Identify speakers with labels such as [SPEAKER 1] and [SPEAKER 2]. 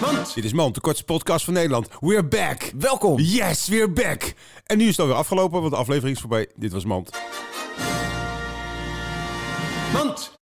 [SPEAKER 1] Mand. Dit is Mand, de kortste podcast van Nederland. We're back.
[SPEAKER 2] Welkom.
[SPEAKER 1] Yes, we're back. En nu is het alweer afgelopen, want de aflevering is voorbij. Dit was Mand. Mand.